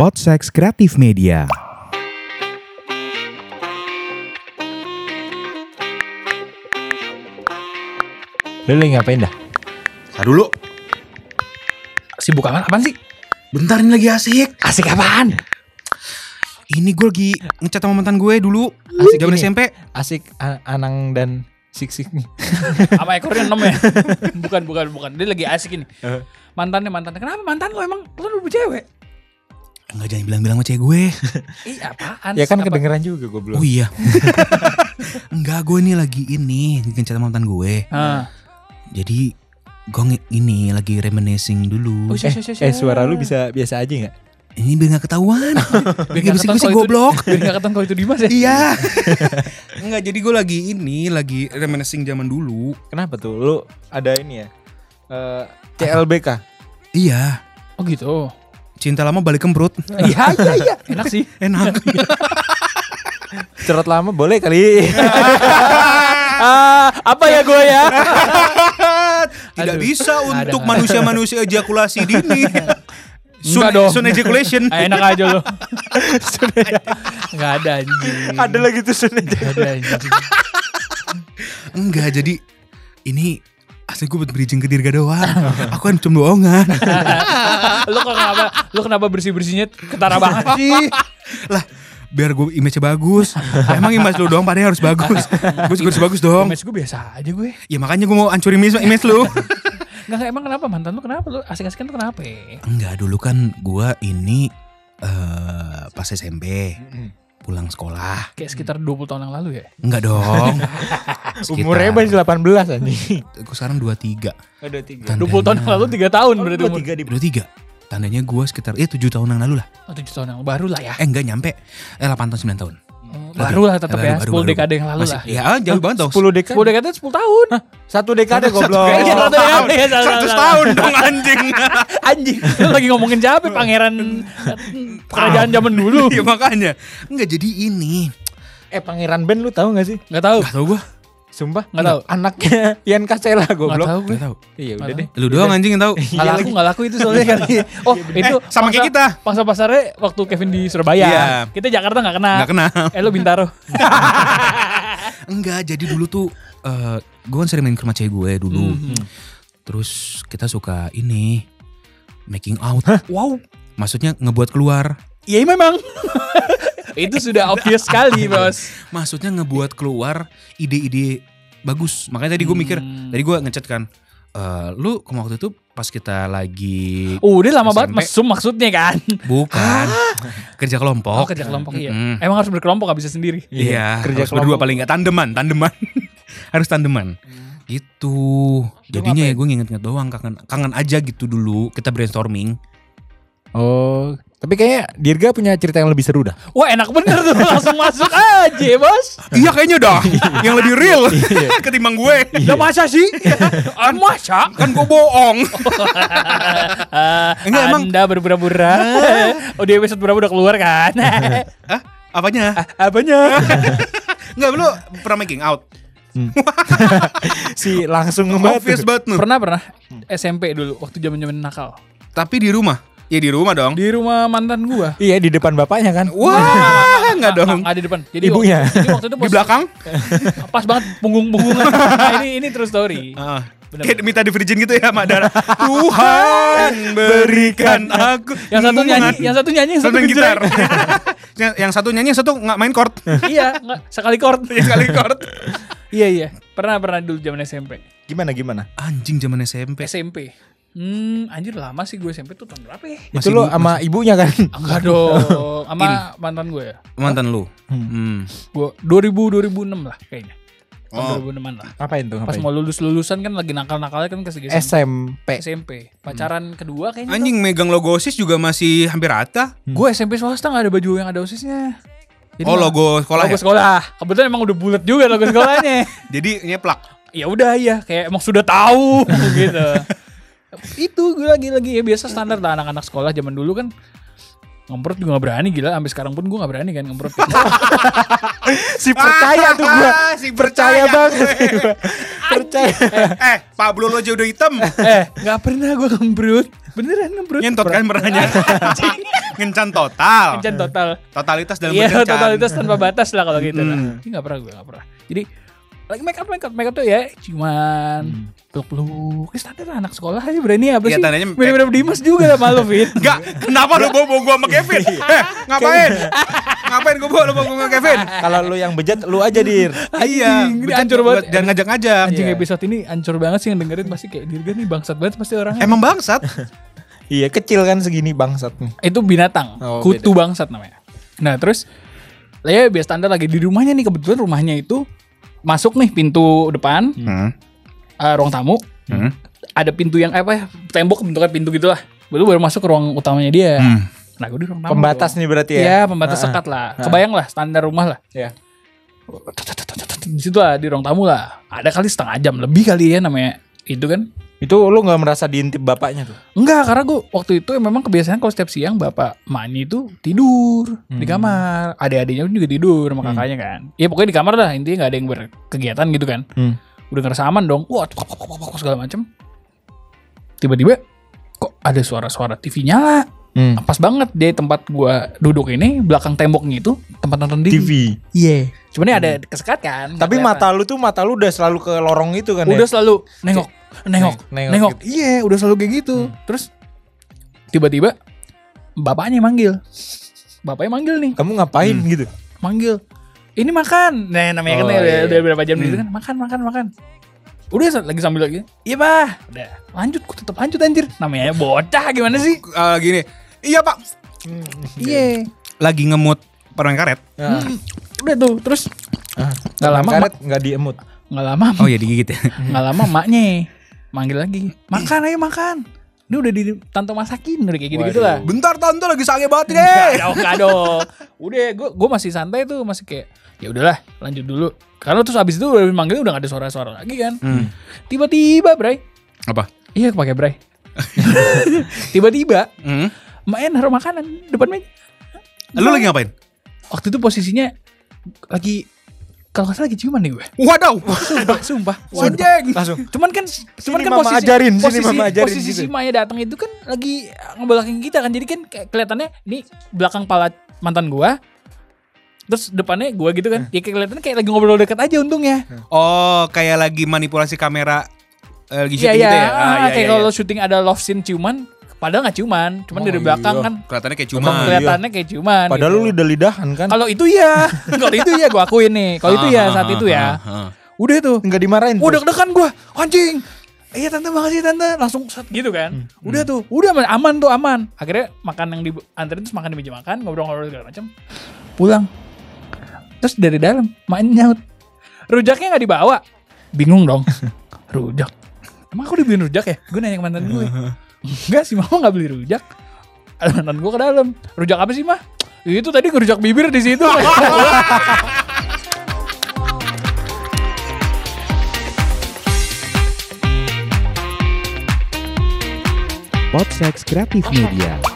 Podsex Kreatif Media. Lu lagi ngapain dah? Nah dulu, Sibuk apaan? Apaan sih? bentar ini lagi asik. Asik apaan? Ini gue lagi ngechat sama mantan gue dulu. Asik Zaman ini. SMP. Asik a- Anang dan Sik Sik nih. sama ekornya 6 ya bukan bukan bukan dia lagi asik ini mantannya mantannya kenapa mantan lo emang lo udah cewek Enggak jangan bilang-bilang sama cewek gue. ih apaan ya kan sih? Apa- kedengeran juga gue belum. Oh iya. Enggak gue ini lagi ini lagi ngechat sama mantan gue. Ah. Jadi gue nge- ini lagi reminiscing dulu. Oh, eh, shit. eh, suara lu bisa biasa aja nggak? Ini biar gak ketahuan. Biar biar nggak bisik bisik ketahuan kalau goblok. biar gak ketahuan kalau itu Dimas ya iya. Enggak jadi gue lagi ini lagi reminiscing zaman dulu. Kenapa tuh? Lu ada ini ya? Eh, CLBK. Iya. oh gitu Cinta lama balik kembrut. iya iya iya enak sih Enak. Cerot lama boleh kali. Ah, apa ya gue ya? Tidak Aduh. bisa Ada. untuk manusia-manusia ejakulasi dini. Enggak dong. sun ejaculation. Ah, enak aja lo nggak ada anjing ada lagi tuh sebenarnya. Nggak ada anjing Enggak, jadi ini asli gue buat bridging ke Dirga doang. Aku kan cuma bohongan. lo kok kenapa lo kenapa bersih bersihnya ketara banget sih lah, biar gue image bagus. Emang image lu doang padahal harus bagus. Gue juga harus bagus dong. image gue biasa aja gue Ya makanya gue mau hancurin image, image lu. nggak nggak, emang kenapa mantan lo kenapa lo asik asikan lo kenapa ya? Enggak, dulu kan gue ini eh pas SMP pulang sekolah. kayak sekitar 20 tahun yang lalu ya Enggak dong. Umurnya masih 18 anjing. Gue sekarang 23. Ada tiga. 20 tahun yang lalu 3 tahun berarti umur tiga di 23. Tandanya gue sekitar ya 7 tahun yang lalu lah. Oh, 7 tahun yang baru lah ya. Eh enggak nyampe. Eh 8 tahun 9 tahun. Eh, Oh, Baru lah tetap Baru, ya, baru, 10 baru. dekade yang lalu lah. Ya jauh banget dong. 10 dekade. 10 dekade 10 tahun. Satu dekade goblok. Iya. Kayaknya Satu salah dekade, ya, salah, Seratus salah. tahun dong anjing. Anjing, lu lagi ngomongin siapa pangeran kerajaan zaman dulu. Iya makanya. Enggak jadi ini. Eh pangeran Ben lu tahu gak sih? Enggak tahu. Gak tau gue. Sumpah Nggak tahu. Anaknya Ian Kasela Enggak tahu goblok. gue. Gak tau. Iya Nggak udah deh. Lu doang anjing yang tau. Enggak laku, enggak laku itu soalnya kan. Oh, itu sama kayak kita. Pangsa pasarnya waktu Kevin di Surabaya. Iya. Kita Jakarta enggak kena. Nggak kena. Eh lu Bintaro. Enggak jadi dulu tuh. eh gue kan sering main ke rumah cewek gue dulu. Hmm. Terus kita suka ini. Making out. Wow. Maksudnya ngebuat keluar. Iya memang. itu sudah obvious sekali, Bos. Maksudnya ngebuat keluar ide-ide bagus. Makanya tadi gue mikir. Tadi gue ngechat kan. eh, lu ke waktu itu pas kita lagi Udah lama banget SMP. mesum maksudnya kan. bukan Ah. kerja kelompok. Oh, kerja kelompok iya. Mm-mm. Emang harus berkelompok gak bisa sendiri. Iya, Kerja harus berdua kelompok. paling nggak tandeman, tandeman. harus tandeman. Gitu. Jadinya ya gue nginget-nginget doang kangen kangen aja gitu dulu kita brainstorming. Oh, tapi kayaknya Dirga punya cerita yang lebih seru dah. Wah enak bener tuh langsung masuk aja bos. iya kayaknya dah. Yang lebih real ketimbang gue. Lah masa sih? Ah, masa? kan gue bohong. Enggak, Enggak, emang- Anda berbura-bura. oh di episode berapa udah keluar kan? Hah? Ah, Apanya? Apanya? Enggak, lu pernah making out. si langsung Obvious ngebantu. banget Nuh. pernah pernah SMP dulu waktu zaman zaman nakal Tapi di rumah. Ya di rumah dong. di rumah mantan gua. Iya di depan bapaknya kan. Wah, enggak dong. Ada di depan. Jadi Ibunya. Waktu, jadi waktu itu Di pos- belakang? pas banget punggung-punggungan. nah, ini ini true story. Ah. Bener. Eh, Kayak minta di virgin gitu ya Madara Tuhan berikan aku Yang satu nyanyi, iman. yang satu nyanyi, yang satu Seneng gitar. ngejreng. yang, yang satu nyanyi, yang satu nggak main chord. iya, enggak, sekali chord. Yang sekali chord. iya iya. Pernah pernah dulu zaman SMP. Gimana gimana? Anjing zaman SMP. SMP. Hmm, anjir lama sih gue SMP tuh tahun berapa ya? Itu lo sama ibunya kan. Enggak dong, sama mantan gue ya. mantan lu. Hmm. Gue 2000 2006 lah kayaknya. Oh. Tahun 2006 lah. Ngapain tuh? Pas Ngapain? mau lulus lulusan kan lagi nakal-nakalnya kan ke SMP. SMP. SMP. Pacaran kedua kayaknya. tuh. Anjing megang logo OSIS juga masih hampir rata. Gue SMP swasta gak ada baju yang ada osisnya. oh, Jadi mah- logo sekolah logo ya. sekolah. Kebetulan emang udah bulat juga logo sekolahnya. Jadi nyeplak. ya udah ya, kayak emang sudah tahu gitu. Itu gue lagi-lagi ya biasa standar lah anak-anak sekolah zaman dulu kan Ngemprot juga gak berani gila. Sampai sekarang pun gue gak berani kan ngemprot. si percaya tuh gua. Ah, si percaya percaya. banget. gua. percaya. eh, Pablo lo aja udah hitam. eh gak pernah gue ngemprot. Beneran ngemprot. Nyentot kan pernahnya. Ngencan total. Kencan total. Totalitas dalam Iya berngencan. totalitas tanpa batas lah kalau gitu. Nah, Hmm. Ini gak pernah gue gak pernah. Jadi lagi make up make up make up tuh ya cuman peluk peluk standar lah, anak sekolah aja berani apa Hmm. Iya, sih tandanya- mirip mirip Dimas juga lah malu fit Enggak, kenapa lu bawa gua sama Kevin? Iya. Eh, ngapain? ngapain gua bawa lu bawa gua sama Kevin? Kalau lu yang bejat lu aja dir. Iya, ini bercanda, hancur banget. Iya. Jangan ngajak-ngajak. anjing episode ini ancur banget sih yang dengerin pasti kayak dirga nih bangsat banget pasti orangnya Emang bangsat. Iya kecil kan segini bangsat nih. itu binatang Oh, kutu bangsat namanya nah terus ya biasa standar lagi di rumahnya nih kebetulan rumahnya itu masuk nih pintu depan Hmm. eh, ruang tamu Hmm. ada pintu yang apa ya tembok bentukan pintu gitulah baru baru masuk ke ruang utamanya dia Hmm. nah gue di ruang tamu Pembatas nih berarti dong. ya. ya pembatas sekat lah kebayang lah standar rumah lah Iya. di situ lah di ruang tamu lah ada kali setengah jam lebih kali ya namanya itu kan Itu lu nggak merasa diintip bapaknya tuh? Enggak, karena gue waktu itu memang kebiasaan kalau setiap siang bapak mani itu tidur Hmm. di kamar. Adik-adiknya juga tidur sama kakaknya kan. Ya pokoknya di kamar lah, intinya gak ada yang berkegiatan gitu kan. Hmm. Udah ngerasa aman dong, wah kok, kok, kok, kok, kok, segala macem. Tiba-tiba kok ada suara-suara TV nyala. Hmm. Pas banget di tempat gua duduk ini, belakang temboknya itu tempat nonton TV. TV. Iya. Cuman ini ada kesekat kan. nggak Hmm. Tapi mata kelihatan. lu tuh mata lu udah selalu ke lorong itu kan udah ya? selalu nengok nengok Neng- nengok nengok, iya udah selalu kayak gitu terus tiba-tiba bapaknya manggil bapaknya manggil nih Kamu ngapain gitu? manggil ini makan nah namanya kan Oh, udah, iya. udah berapa jam gitu kan makan makan makan udah sa- lagi sambil lagi iya bah udah lanjut ku tetap lanjut anjir namanya bocah gimana sih Eh, gini. Iya, Pak. iya Hmm, Lagi ngemut permen karet. Nah, udah tuh terus ah, Nggak lama, karet nggak diemut. nggak lama Oh iya digigit ya. nggak lama maknya manggil lagi makan ayo makan ini udah di tante masakin udah kayak gitu gitu lah Bentar tante lagi sange banget deh. Kado, kado. Udah, gue gue masih santai tuh, masih kayak ya udahlah, lanjut dulu. Karena terus abis itu udah manggil udah gak ada suara-suara lagi kan. Tiba-tiba, Bray. Apa? Iya, pakai Bray. Tiba-tiba, Hmm. main naruh makanan depan meja. Lu lagi ngapain? Waktu itu posisinya lagi kalau nggak salah lagi ciuman nih gue. Waduh. Sumpah, sumpah. Anjing. Langsung. Cuman kan cuman kan Mama posisi ajarin, sini posisi, Mama ajarin posisi gitu. si Maya datang itu kan lagi ngebelakangin kita kan. Jadi kan kayak kelihatannya ini belakang pala mantan gua. Terus depannya gua gitu kan. Ya kayak kelihatannya kayak lagi ngobrol dekat aja untungnya. Oh, kayak lagi manipulasi kamera eh, lagi Iya syuting iya. gitu ya. Ah, Ah, iya, kayak iya, kalau iya. syuting ada love scene ciuman, padahal nggak ciuman, cuman Oh, dari belakang kan kelihatannya kayak tetap cuma kelihatannya kayak ciuman. iya. Ah, Padahal gitu. lu lidah lidahan kan? kalau itu ya, kalau itu ya gua akuin nih. Kalau Ah, itu ya saat itu ya. Udah tuh. Nggak dimarahin. Wah tuh. Oh, deg-degan gue Anjing Iya tante makasih tante Langsung set gitu kan Udah tuh Udah aman, aman tuh aman Akhirnya makan yang di Anterin terus makan di meja makan Ngobrol-ngobrol segala macam Pulang Terus dari dalam Main nyaut Rujaknya gak dibawa Bingung dong Rujak Emang aku dibeliin rujak ya? Gue nanya ke mantan gue Enggak sih mama gak beli rujak Ada mantan gue ke dalam Rujak apa sih mah? Itu tadi ngerujak bibir di situ. Podsex Kreatif Media.